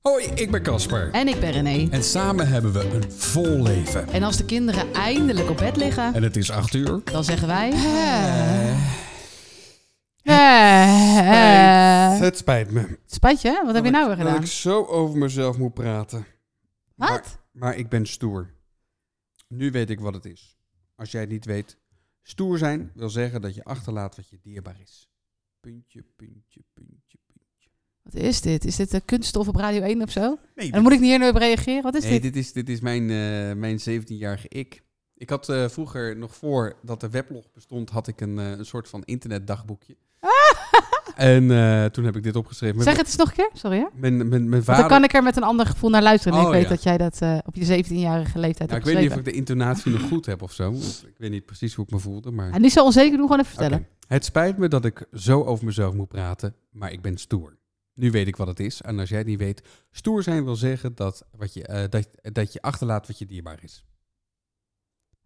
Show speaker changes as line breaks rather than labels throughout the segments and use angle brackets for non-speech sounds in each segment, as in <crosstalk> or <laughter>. Hoi, ik ben Casper.
En ik ben René.
En samen hebben we een vol leven.
En als de kinderen eindelijk op bed liggen,
En het is acht uur.
dan zeggen wij... Eh,
Het spijt me.
Spijt je, hè? wat heb je nou weer
Dat
gedaan?
ik zo over mezelf moet praten.
Wat?
Maar ik ben stoer. Nu weet ik wat het is. Als jij het niet weet. Stoer zijn wil zeggen dat je achterlaat wat je dierbaar is. Puntje, puntje, puntje, puntje.
Wat is dit? Is dit de kunststof op Radio 1 of zo?
Nee,
En dan moet ik niet hier nu op reageren? Wat is
nee,
dit?
dit is, dit is mijn, eh, mijn 17-jarige ik. Ik had eh, vroeger, nog voor dat de weblog bestond, had ik een, eh, een soort van internetdagboekje. en eh, toen heb ik dit opgeschreven. Mijn-
Ah! Zeg het eens nog een keer, sorry hè?
Mijn, mijn, mijn
Want
vader...
dan kan ik er met een ander gevoel naar luisteren. En
Oh,
ik weet
ja.
dat jij dat eh, op je 17-jarige leeftijd
Nou, ik weet
hebt
niet of
geschreven.
ik de intonatie nog goed heb of zo. want Ik weet niet precies hoe ik me voelde, maar...
En niet zo onzeker doen, gewoon even vertellen.
Oké. Het spijt me dat ik zo over mezelf moet praten, maar ik ben stoer. Nu weet ik wat het is. En als jij het niet weet, stoer zijn wil zeggen dat, wat je, eh, dat, dat je achterlaat wat je dierbaar is.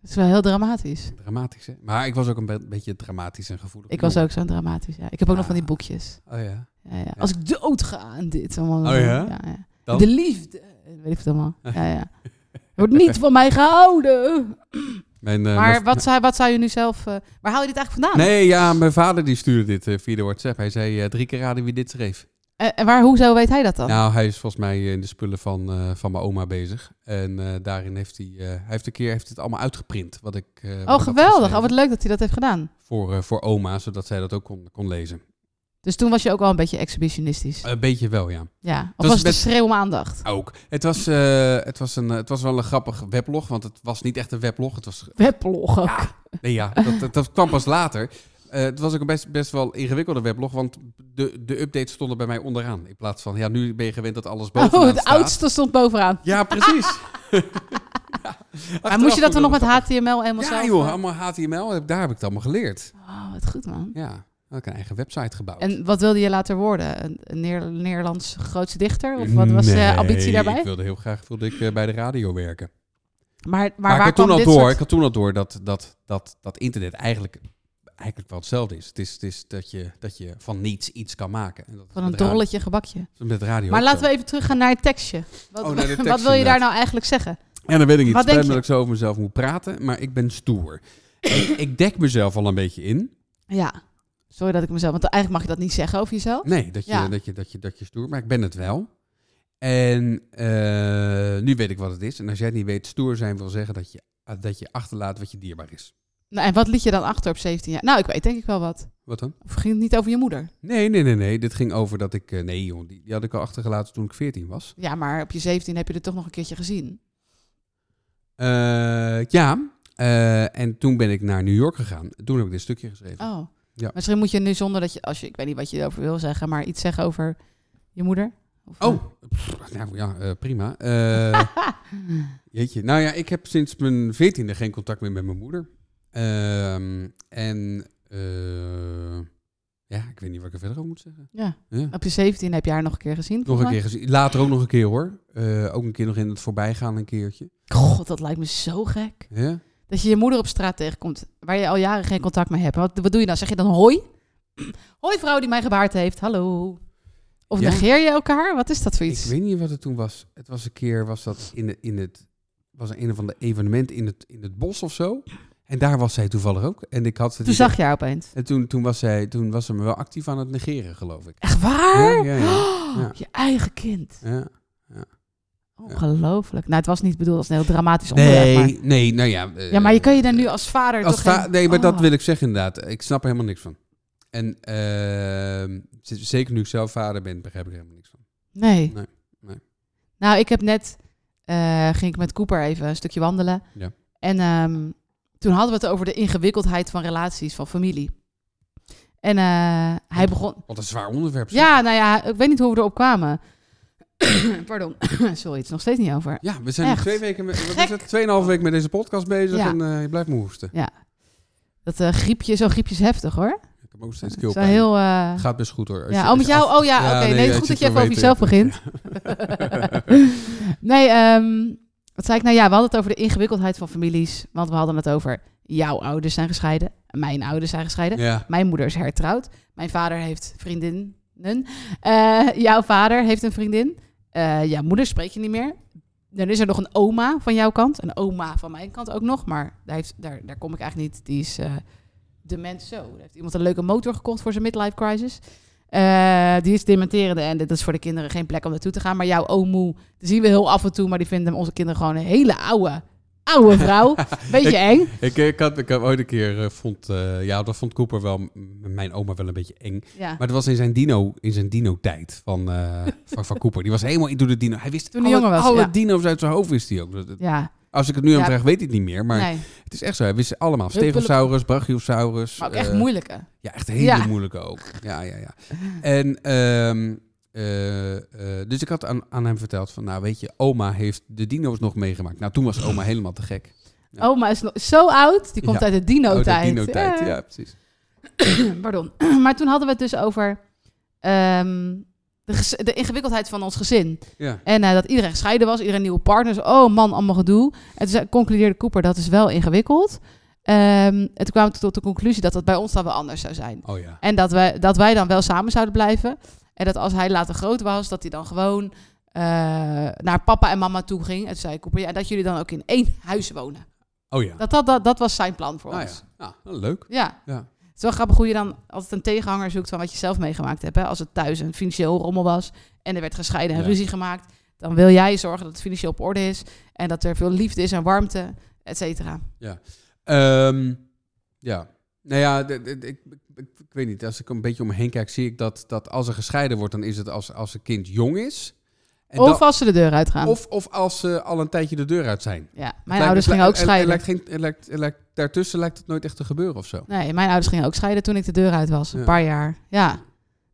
Dat is wel heel dramatisch.
Dramatisch, hè? Maar ik was ook een be- beetje dramatisch en gevoelig.
Ik was ook zo'n dramatisch, ja. Ik heb ook nog van die
Ah.
boekjes.
Oh ja.
Ja, ja. Als ik dood ga aan dit. Allemaal,
Oh ja? Dan?
De liefde. Eh, Weet ik
<laughs>
het allemaal. Ja, ja. Wordt niet van mij gehouden.
Mijn, eh,
Maar
mijn-
wat zou, wat zou je nu zelf... eh, waar haal je dit eigenlijk vandaan?
Nee, ja, mijn vader die stuurde dit eh, via de WhatsApp. Hij zei eh, drie keer raden wie dit schreef.
Eh, En waar, hoezo weet hij dat dan?
Nou, hij is volgens mij in de spullen van, eh, van mijn oma bezig. En eh, daarin heeft hij, eh, hij heeft een keer heeft het allemaal uitgeprint. Wat ik, eh, wat ik
oh,
had
geweldig.
geschreven
Oh, wat leuk dat hij dat heeft gedaan.
voor, eh, voor oma, zodat zij dat ook kon, kon lezen.
Dus toen was je ook al een beetje exhibitionistisch.
Een beetje wel, ja.
ja.
was
Of was het
Eh, best-
een schreeuw om aandacht?
Ook. Het was, eh, het, was een, eh, het was wel een grappig weblog, want het was niet echt een weblog. Het was,
Weblog ook.
nee ja, <laughs> dat, dat, dat kwam pas later. Eh, het was ook een best, best wel ingewikkelde weblog, want de, de updates stonden bij mij onderaan. In plaats van, ja, nu ben je gewend dat alles bovenaan
Oh, het
staat.
oudste stond bovenaan.
Ja,
<laughs>
precies.
Maar moest je dat dan nog met
HTML?
HTML helemaal
Ja
zelf?
joh,
eh?
allemaal HTML, heb- daar heb ik het allemaal geleerd.
Oh, wat goed man.
Ja, had ik een eigen website gebouwd.
En wat wilde je later worden? Een, een Neer- Nederlands grootste dichter? Of wat was de ambitie
Nee,
daarbij?
ik wilde heel graag wilde ik, eh, bij de radio werken.
Maar, maar,
Maar,
waar
ik, had toen
kwam
al
dit
door,
soort-
ik had toen al door dat, dat, dat, dat internet eigenlijk, eigenlijk wel hetzelfde is. Het is, het is dat, je, dat je van niets iets kan maken. En dat is
Van een
met radio-
dolletje gebakje.
Met radio
Maar
ook
laten
zo.
we even teruggaan naar het
<laughs>
tekstje. Wat,
Oh, naar de tekst
wat wil je
inderdaad.
daar nou eigenlijk zeggen?
Ja, dan weet ik niet. Het
Wat
spijt
denk
me
je?
dat ik zo over mezelf moet praten, maar ik ben stoer. ik, ik dek mezelf al een beetje in.
Ja, sorry dat ik mezelf... Want eigenlijk mag je dat niet zeggen over jezelf.
Nee, dat je,
Ja.
dat je, dat je, dat je stoer, maar ik ben het wel. En eh, nu weet ik wat het is. En als jij het niet weet, stoer zijn wil zeggen dat je, eh, dat je achterlaat wat je dierbaar is.
Nou, en wat liet je dan achter op 17 jaar? Nou, ik weet denk ik wel wat.
Wat dan?
Of ging het niet over je moeder?
Nee, nee, nee, nee. Dit ging over dat ik... eh, nee, joh, die, die had ik al achtergelaten toen ik 14 was.
Ja, maar op je 17 heb je het toch nog een keertje gezien.
Eh, ja, eh, en toen ben ik naar New York gegaan. Toen heb ik dit stukje geschreven.
Oh.
Ja.
Misschien moet je nu zonder dat je... Als je ik weet niet wat je erover wil zeggen, maar iets zeggen over je moeder? Of, eh,
Oh, pff, nou ja, eh, prima. Eh,
<laughs>
jeetje. Nou ja, ik heb sinds mijn 14e geen contact meer met mijn moeder. Ehm, en... eh, ja, ik weet niet wat ik er verder over moet zeggen.
Ja.
Ja.
Op je 17 heb je haar nog een keer gezien.
Nog een
volgens
keer gezien. Later ook nog een keer hoor. Eh, ook een keer nog in het voorbijgaan een keertje.
mij. God, dat lijkt me zo gek.
Ja?
Dat je je moeder op straat tegenkomt, waar je al jaren geen contact mee hebt. Wat, wat doe je dan? Zeg je dan hoi? <clears throat> Hoi vrouw die mij gebaard heeft, hallo. Of
Ja.
negeer je elkaar? Wat is dat voor iets?
Ik weet niet wat het toen was. Het was een keer, was dat in, de, in het, was een, een of ander evenement in het, in het bos of zo. En daar was zij toevallig ook. En ik had het
Toen
idee-
zag je haar opeens.
En toen, toen, was zij, toen was ze me wel actief aan het negeren, geloof ik.
Echt waar?
Ja, ja, ja.
<gasps> Oh,
Ja.
Je eigen kind.
Ja.
Ongelooflijk. Nou, het was niet bedoeld als een heel dramatisch onderwerp. Maar...
Nee, nee, nou ja. eh,
Ja, maar je kan je daar nu als vader
als
toch
va-
geen-
Nee, maar dat
Oh.
wil ik zeggen inderdaad. Ik snap er helemaal niks van. En ehm, z- zeker nu ik zelf vader ben, begrijp ik er helemaal niks van.
Nee.
Nee, nee.
Nou, ik heb net... eh, ging ik met Cooper even een stukje wandelen.
Ja.
En ehm, toen hadden we het over de ingewikkeldheid van relaties, van familie. En eh, hij begon...
Wat een zwaar onderwerp. zeg.
Ja, nou ja, ik weet niet hoe we erop kwamen. <coughs> Pardon. <coughs> Sorry, het is nog steeds niet over.
Ja, we zijn nu
Echt.
twee weken, met- wat
Gek.
is het? Tweeënhalve week met deze podcast bezig
Ja.
en eh, je blijft moe hoesten.
Dat eh, griepje, zo'n griepje is heftig hoor.
Ik heb ook steeds
Het is wel
keelpijn.
heel... eh,
Gaat best goed hoor. Als
ja,
je-
oh,
als
met
je
jou?
af-
Oh ja,
Ja,
oké.
nee,
Nee,
ja,
het is goed
het
dat je
zit
even over
wel
jezelf begint.
<laughs>
nee, ehm, wat zei ik? Nou ja, we hadden het over de ingewikkeldheid van families. Want we hadden het over jouw ouders zijn gescheiden. Mijn ouders zijn gescheiden.
Ja.
Mijn moeder is hertrouwd. Mijn vader heeft vriendinnen. Eh, jouw vader heeft een vriendin. Eh, ja, moeder spreek je niet meer. Dan is er nog een oma van jouw kant. Een oma van mijn kant ook nog. Maar daar, heeft, daar, daar kom ik eigenlijk niet. Die is eh dement zo. Daar heeft iemand een leuke motor gekocht voor zijn midlife crisis. Eh, die is dementerende en dat is voor de kinderen geen plek om naartoe te gaan. Maar jouw omoe, die zien we heel af en toe. Maar die vinden onze kinderen gewoon een hele oude, oude
<laughs>
vrouw. Beetje eng.
Ik, eh, ik, had, ik had ooit een keer, eh, vond, eh, ja, dat vond Cooper wel, m- mijn oma wel een beetje eng.
Ja.
Maar dat was in zijn dino, in zijn dino-tijd van,
<laughs>
eh, van, van Cooper. Die was helemaal into de dino. Hij wist
Toen hij
alle,
jonger was,
alle
ja.
dino's uit zijn hoofd wist hij ook. Dat- dat-
ja.
Als ik het nu aan hem
Ja.
vraag, weet hij het niet meer. Maar
nee.
het is echt zo. Hij wist ze allemaal.
Huppelen-
Stegosaurus, Brachiosaurus.
Maar ook echt
eh,
moeilijke.
Ja, echt hele
Ja.
moeilijke ook. Ja, ja, ja. En ehm, eh, eh, dus ik had aan, aan hem verteld van, nou weet je, oma heeft de dino's nog meegemaakt. Nou, toen was oma helemaal te gek. Ja.
Oma is nog zo oud. Die komt
Ja.
uit de dino-tijd.
Oh, de dino-tijd,
Ja.
ja, precies.
<clears throat> Pardon. Maar toen hadden we het dus over ehm, de, ges- de ingewikkeldheid van ons gezin.
Ja.
En eh, dat iedereen gescheiden was, iedereen nieuwe partners. Oh man, allemaal gedoe. En toen zei- concludeerde Cooper, dat is wel ingewikkeld. Ehm, en toen kwamen we tot de conclusie dat dat bij ons dan wel anders zou zijn.
Oh ja.
En dat wij, dat wij dan wel samen zouden blijven. En dat als hij later groot was, dat hij dan gewoon eh, naar papa en mama toe ging. En toen zei Cooper, ja, dat jullie dan ook in één huis wonen.
Oh ja.
Dat, dat, dat, dat was zijn plan voor
Ah,
ons.
ja. Ah, nou, leuk.
Ja.
Ja.
Het is wel grappig hoe je dan altijd een tegenhanger zoekt van wat je zelf meegemaakt hebt. Hè? Als het thuis een financieel rommel was en er werd gescheiden en
Ja.
ruzie gemaakt, dan wil jij zorgen dat het financieel op orde is en dat er veel liefde is en warmte, et cetera.
Ehm, ja. Nou ja, d- d- ik, ik, ik, ik weet niet. Als ik een beetje om me heen kijk, zie ik dat, dat als er gescheiden wordt, dan is het als, als een kind jong is. En
Of
dan-
als ze de deur uitgaan.
of, of als ze al een tijdje de deur uit zijn.
ja,
Het
mijn
lijkt-
ouders
het
gingen ook
lijkt- het
scheiden.
lijkt geen- het lijkt- het lijkt- Daartussen lijkt het nooit echt te gebeuren of zo.
Nee, mijn ouders gingen ook scheiden toen ik de deur uit was, een
Ja.
paar jaar. Ja,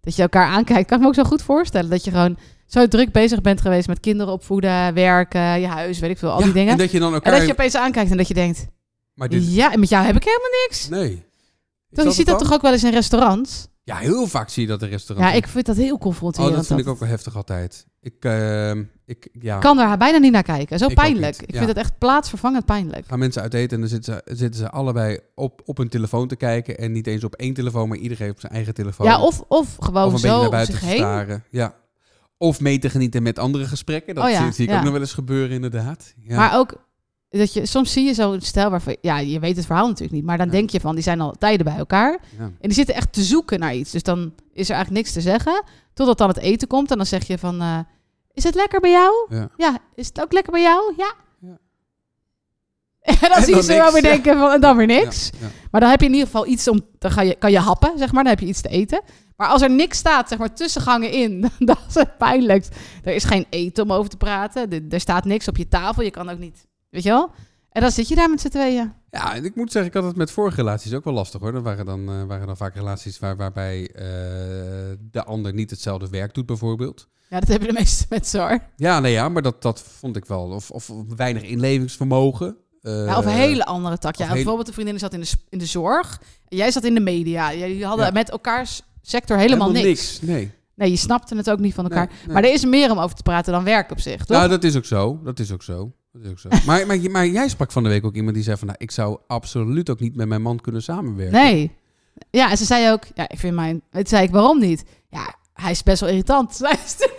dat je elkaar aankijkt. Kan ik me ook zo goed voorstellen dat je gewoon zo druk bezig bent geweest met kinderen opvoeden, werken, je huis, weet ik veel, al
Ja,
die dingen.
En dat je dan
en
elkaar...
dat je opeens aankijkt en dat je denkt,
Maar dit...
ja, en met jou heb ik helemaal niks.
Nee. Is
Toch, je ziet dat
het
toch ook wel eens in restaurants?
dan? Ja, heel vaak zie je dat in restaurants.
Ja, ik vind dat heel confronterend.
Oh, dat vind ik
dat.
ook wel heftig altijd. Ik, ehm, ik ja...
Ik kan daar bijna niet naar kijken. Zo
Ik ook
pijnlijk.
niet,
Ik
ja.
vind dat echt plaatsvervangend pijnlijk.
Gaan mensen uit eten en dan zitten ze, zitten ze allebei op, op hun telefoon te kijken. En niet eens op één telefoon, maar iedereen op zijn eigen telefoon.
Ja, of, of
Of
gewoon
een beetje
zo
naar
om
buiten
zich
te
heen.
staren. Ja. Of mee te genieten met andere gesprekken. Dat
Oh ja,
zie, zie ik
ja.
ook nog wel eens gebeuren, inderdaad. Ja.
Maar ook, dat je, soms zie je zo'n stel waarvan... Ja, je weet het verhaal natuurlijk niet. Maar dan
Ja.
denk je van, die zijn al tijden bij elkaar.
ja.
En die zitten echt te zoeken naar iets. Dus dan is er eigenlijk niks te zeggen. Totdat dan het eten komt. En dan zeg je van, eh, is het lekker bij jou?
Ja.
Is het ook lekker bij jou? Ja.
Ja.
<laughs> En dan
En
zie je
dan
ze wel
niks,
weer
ja.
denken van, en dan weer niks.
Ja, ja.
Maar dan heb je in ieder geval iets om. Dan ga je, kan je happen, zeg maar. Dan heb je iets te eten. Maar als er niks staat, zeg maar tussengangen in, <laughs> dat is het pijnlijk. Er is geen eten om over te praten. Er, er staat niks op je tafel. Je kan ook niet. Weet je wel? En dan zit je daar met z'n tweeën.
Ja, en ik moet zeggen, ik had het met vorige relaties ook wel lastig hoor. Dat waren dan, eh, waren dan vaak relaties waar, waarbij eh, de ander niet hetzelfde werk doet, bijvoorbeeld.
Ja, dat hebben de meeste <laughs> mensen hoor.
Ja, nee, ja, maar dat, dat vond ik wel. Of, of weinig inlevingsvermogen. Eh,
Ja, of een hele andere tak. Ja,
of hele-
bijvoorbeeld de vriendin zat in de, s- in de zorg. En jij zat in de media. Jullie hadden
Ja.
met elkaars sector helemaal, niks.
Nee.
Nee, je snapte het ook niet van elkaar.
Nee, nee.
Maar er is meer om over te praten dan werk op zich, toch?
Nou, dat is ook zo. Dat is ook zo. Dat is ook zo. maar, maar, je- maar jij sprak van de week ook iemand die zei van... Nou, ik zou absoluut ook niet met mijn man kunnen samenwerken.
Nee. Ja, en ze zei ook, ja, ik vind mijn... Toen zei ik, waarom niet? Ja, hij is best wel irritant. <laughs> zei ze.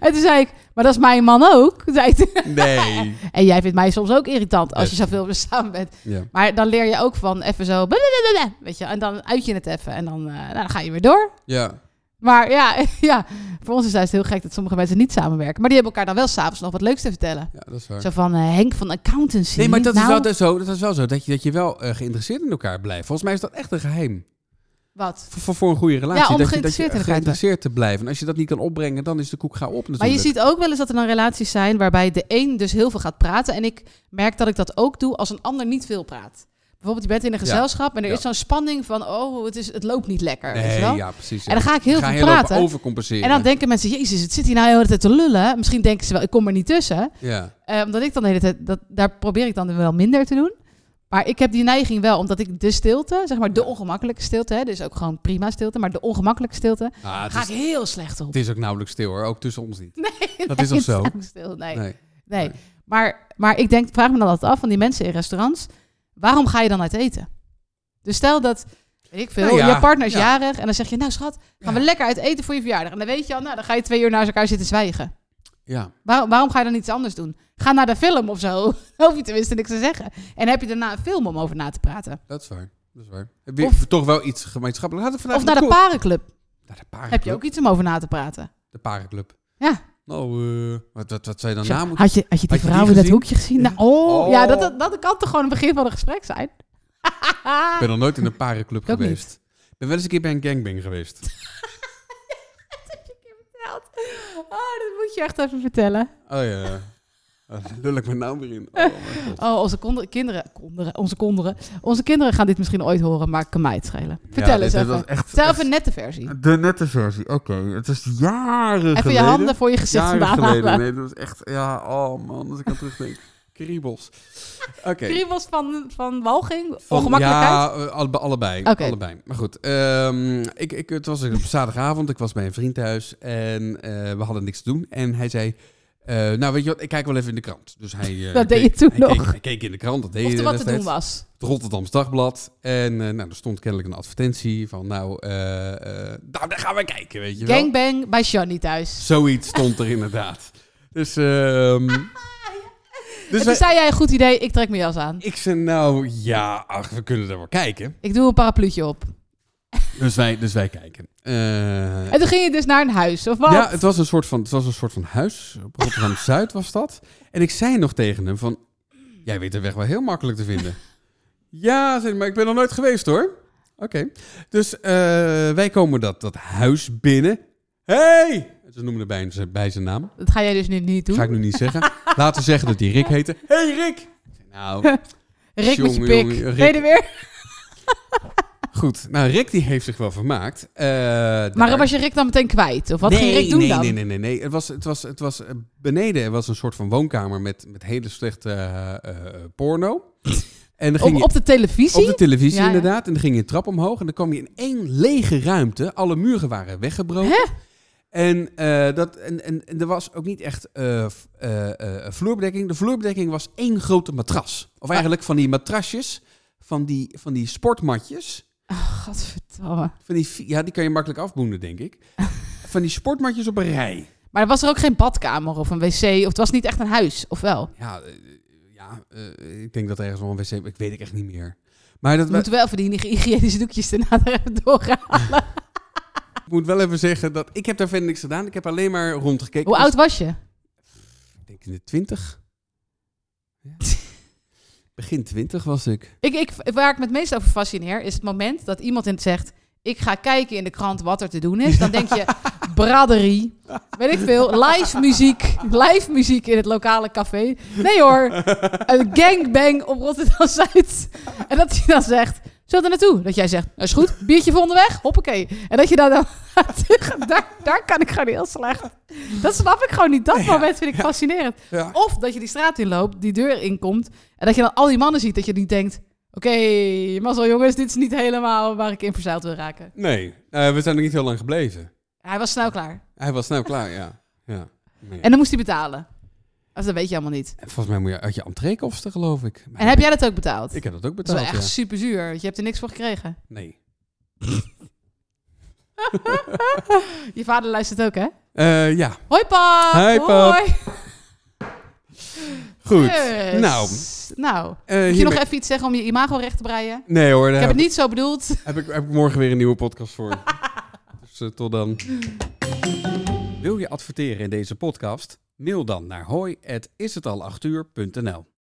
en toen zei ik, maar dat is mijn man ook. Zei ik.
<laughs> Nee.
En jij vindt mij soms ook irritant als je zoveel <laughs> met samen bent.
ja.
Maar dan leer je ook van even zo, <laughs> blablabla, weet je, en dan uit je het even en dan, eh, nou, dan ga je weer door.
ja.
Maar ja, <laughs> ja, voor ons is het juist heel gek dat sommige mensen niet samenwerken. Maar die hebben elkaar dan wel s'avonds nog wat leuks te vertellen.
Ja, dat is waar.
Zo van eh, Henk van Accountancy.
Nee, maar dat
Nou,
is wel zo. Dat is wel zo. Dat je, dat je wel eh, geïnteresseerd in elkaar blijft. Volgens mij is dat echt een geheim.
Wat?
Voor, voor, voor een goede relatie.
Ja, om
dat je-
geïnteresseerd
dat
in
je,
elkaar te
geïnteresseerd te blijven. En als je dat niet kan opbrengen, dan is de koek gauw op natuurlijk.
Maar je ziet ook wel eens dat er dan relaties zijn waarbij de een dus heel veel gaat praten. En ik merk dat ik dat ook doe als een ander niet veel praat. Bijvoorbeeld, je bent in een gezelschap en er
Ja.
is zo'n spanning van, oh, het, is, het loopt niet lekker. weet je
Nee,
wel?
ja, precies. ja.
En dan ga ik heel
ga
veel
je lopen
praten.
overcompenseren.
En dan denken mensen, jezus, het zit hier nou heel de hele tijd te lullen. Misschien denken ze wel, ik kom er niet tussen.
ja.
Eh, omdat ik dan de hele tijd, dat, daar probeer ik dan wel minder te doen. Maar ik heb die neiging wel, omdat ik de stilte, zeg maar de
Ja.
ongemakkelijke stilte, hè, dus ook gewoon prima stilte, maar de ongemakkelijke stilte,
Ah, het,
ga
is,
ik heel slecht op.
het is ook nauwelijks stil hoor. Ook tussen ons niet.
Nee,
dat
nee, <laughs>
is toch zo?
het stil, nee.
Nee.
Nee. Maar, maar ik denk, vraag me dan altijd af van die mensen in restaurants. Waarom ga je dan uit eten? Dus stel dat Weet ik veel.
Nou ja,
je partner is
ja.
jarig en dan zeg je, nou schat, gaan we
Ja.
lekker uit eten voor je verjaardag. En dan weet je al, nou dan ga je twee uur naast elkaar zitten zwijgen.
Ja,
Waarom, waarom ga je dan iets anders doen? Ga naar de film of zo. <laughs> Dan hoef je tenminste niks te zeggen. En heb je daarna een film om over na te praten.
dat is waar. Dat is waar. Heb je
Of-
toch wel iets gemeenschappelijk? Laten we
Of
vandaag
naar de
ko-
parenclub.
naar de parenclub.
Heb je ook iets om over na te praten.
De parenclub.
Ja.
Nou, eh, wat, wat, wat zou je dan
Zo,
na moeten...
had, je, had je
had je
die
die
vrouw in dat
gezien?
hoekje gezien? Nou, oh,
Oh.
Ja, dat, dat, dat kan toch gewoon een begin van een gesprek zijn? <laughs>
Ik ben nog nooit in een parenclub
Ik ook
geweest. Ik ben wel eens een keer bij een gangbang geweest.
Dat heb je een keer verteld. Oh, dat moet je echt even vertellen.
Oh ja. <laughs> Oh, Lul ik mijn naam weer in. Oh, mijn
<laughs>
god.
Oh, onze konder- kinderen, konderen, onze kinderen, onze kinderen gaan dit misschien ooit horen, maar ik kan mij het schelen. Vertel
Ja,
eens
dit- dit
even.
was echt-
Vertel even
echt-
een nette versie.
De nette versie, oké. Het is jaren geleden.
Even je handen voor je gezicht
jaren
vandaan
geleden.
halen.
Nee, dat was echt... Ja, oh man, als ik aan
<laughs>
terugdenk. Kriebels. Oké.
Kriebels van, van walging,
Van-
ongemakkelijkheid.
Ja, eh, alle- allebei.
Oké.
allebei. Maar goed, ehm, ik, ik, het was op zaterdagavond. Ik was bij een vriend thuis en eh, we hadden niks te doen. En hij zei, eh, nou weet je wat, ik kijk wel even in de krant. Dus hij, eh,
<laughs> Dat deed
keek-
je toen
hij Keek,
nog.
hij keek in de krant, dat deed
of
je
er wat te
destijds.
doen was.
Het Rotterdams Dagblad. En eh, nou, er stond kennelijk een advertentie van, nou, eh, eh, nou, daar gaan we kijken, weet je wel.
Gangbang bij Johnny thuis.
Zoiets stond er inderdaad. Dus, ehm
<laughs> en
dus
toen
wij-
zei jij, goed idee, ik trek mijn jas aan.
ik zei, nou ja, ach, we kunnen er wel kijken.
Ik doe een parapluutje op.
Dus wij, dus wij kijken. Eh,
En toen ging je dus naar een huis, of wat?
ja, het was, een soort van, het was een soort van huis. Op
<laughs>
Rotterdam Zuid was dat. En ik zei nog tegen hem: van, Jij weet de weg wel heel makkelijk te
<laughs>
vinden. ja, zei hij, maar ik ben nog nooit geweest hoor. Oké. Dus eh, wij komen dat, dat huis binnen. Hey! Ze noemden bij, zijn- bij zijn naam.
Dat ga jij dus nu niet doen.
Ga ik nu niet
<laughs>
zeggen. Laten we zeggen dat hij Rick heette. Hey Rick! Ik zei, Nou,
Rick met je
Jongen,
pik.
jongen, Rick.
Ben je er weer?
goed. Nou, Rick die heeft zich wel vermaakt. Eh,
Maar
daar-
was je Rick dan meteen kwijt? Of wat
nee,
ging Rick doen
nee,
dan?
Nee, nee, nee. nee. Het, was, het, was, het was eh, beneden. Er was een soort van woonkamer met, met hele slechte eh, eh, porno. En dan ging
Op,
je,
op de televisie?
op de televisie
Ja, ja.
inderdaad. En dan ging je een trap omhoog. En dan kwam je in één lege ruimte. Alle muren waren weggebroken. En, eh, dat, en, en, en er was ook niet echt eh, v- eh, eh, vloerbedekking. De vloerbedekking was één grote matras. Of eigenlijk van die matrasjes, van die, van die sportmatjes.
Oh, godverdomme.
Van die, vi- ja, die kan je makkelijk afboenen, denk
<laughs>
ik. Van die sportmatjes op een rij.
Maar was er ook geen badkamer of een wc? Of het was niet echt een huis, of wel?
Ja, eh, ja eh, ik denk dat er ergens wel een wc... Ik weet ik echt niet meer. Maar dat
We moeten wel even die hygiënische doekjes erna er even <laughs> doorgaan.
ik moet wel even zeggen dat... Ik heb daar verder niks gedaan. Ik heb alleen maar rondgekeken.
Hoe
Dus
oud was je?
Ik denk in de twintig.
<laughs>
Ja. Begin twintig was ik.
Ik, ik, waar ik me het meest over fascineer, is het moment dat iemand in het zegt... ik ga kijken in de krant wat er te doen is. Dan denk je, braderie, weet ik veel, live muziek. Live muziek in het lokale café. Nee hoor, een gangbang op Rotterdam-Zuid. En dat hij dan zegt, zullen we er naartoe? Dat jij zegt, dat is goed, biertje voor onderweg, hoppakee. En dat je dan... <laughs> dan daar, daar kan ik gewoon heel slecht. Dat snap ik gewoon niet. Dat moment vind ik fascinerend.
Ja.
Of dat je die straat inloopt, die deur inkomt... en dat je dan al die mannen ziet, dat je niet denkt... Oké, mazzel jongens, dit is niet helemaal waar ik in verzeild wil raken.
Nee, eh, we zijn er niet heel lang gebleven.
Hij was snel klaar.
Hij was snel klaar, ja. ja. Nee.
En dan moest hij betalen. Dus dat weet je allemaal niet.
En volgens mij moet je uit je entreekosten, geloof ik. Maar
En heb jij dat ook betaald?
Ik heb dat ook
dat is
betaald,
wel echt
ja.
super zuur. want Je hebt er niks voor gekregen.
Nee.
Je vader luistert ook, hè?
Eh, ja,
Hoi pap!
Hi, pap.
Hoi.
goed.
Yes.
Nou,
Nou.
eh,
Moet je
hiermee-
nog even iets zeggen om je imago recht te breien?
Nee hoor,
Ik
daar
heb
heb,
het niet zo bedoeld.
heb ik, heb ik morgen weer een nieuwe podcast voor. dus eh, tot dan. Wil je adverteren in deze podcast? Mail dan naar hoi@ishetal8uur.nl.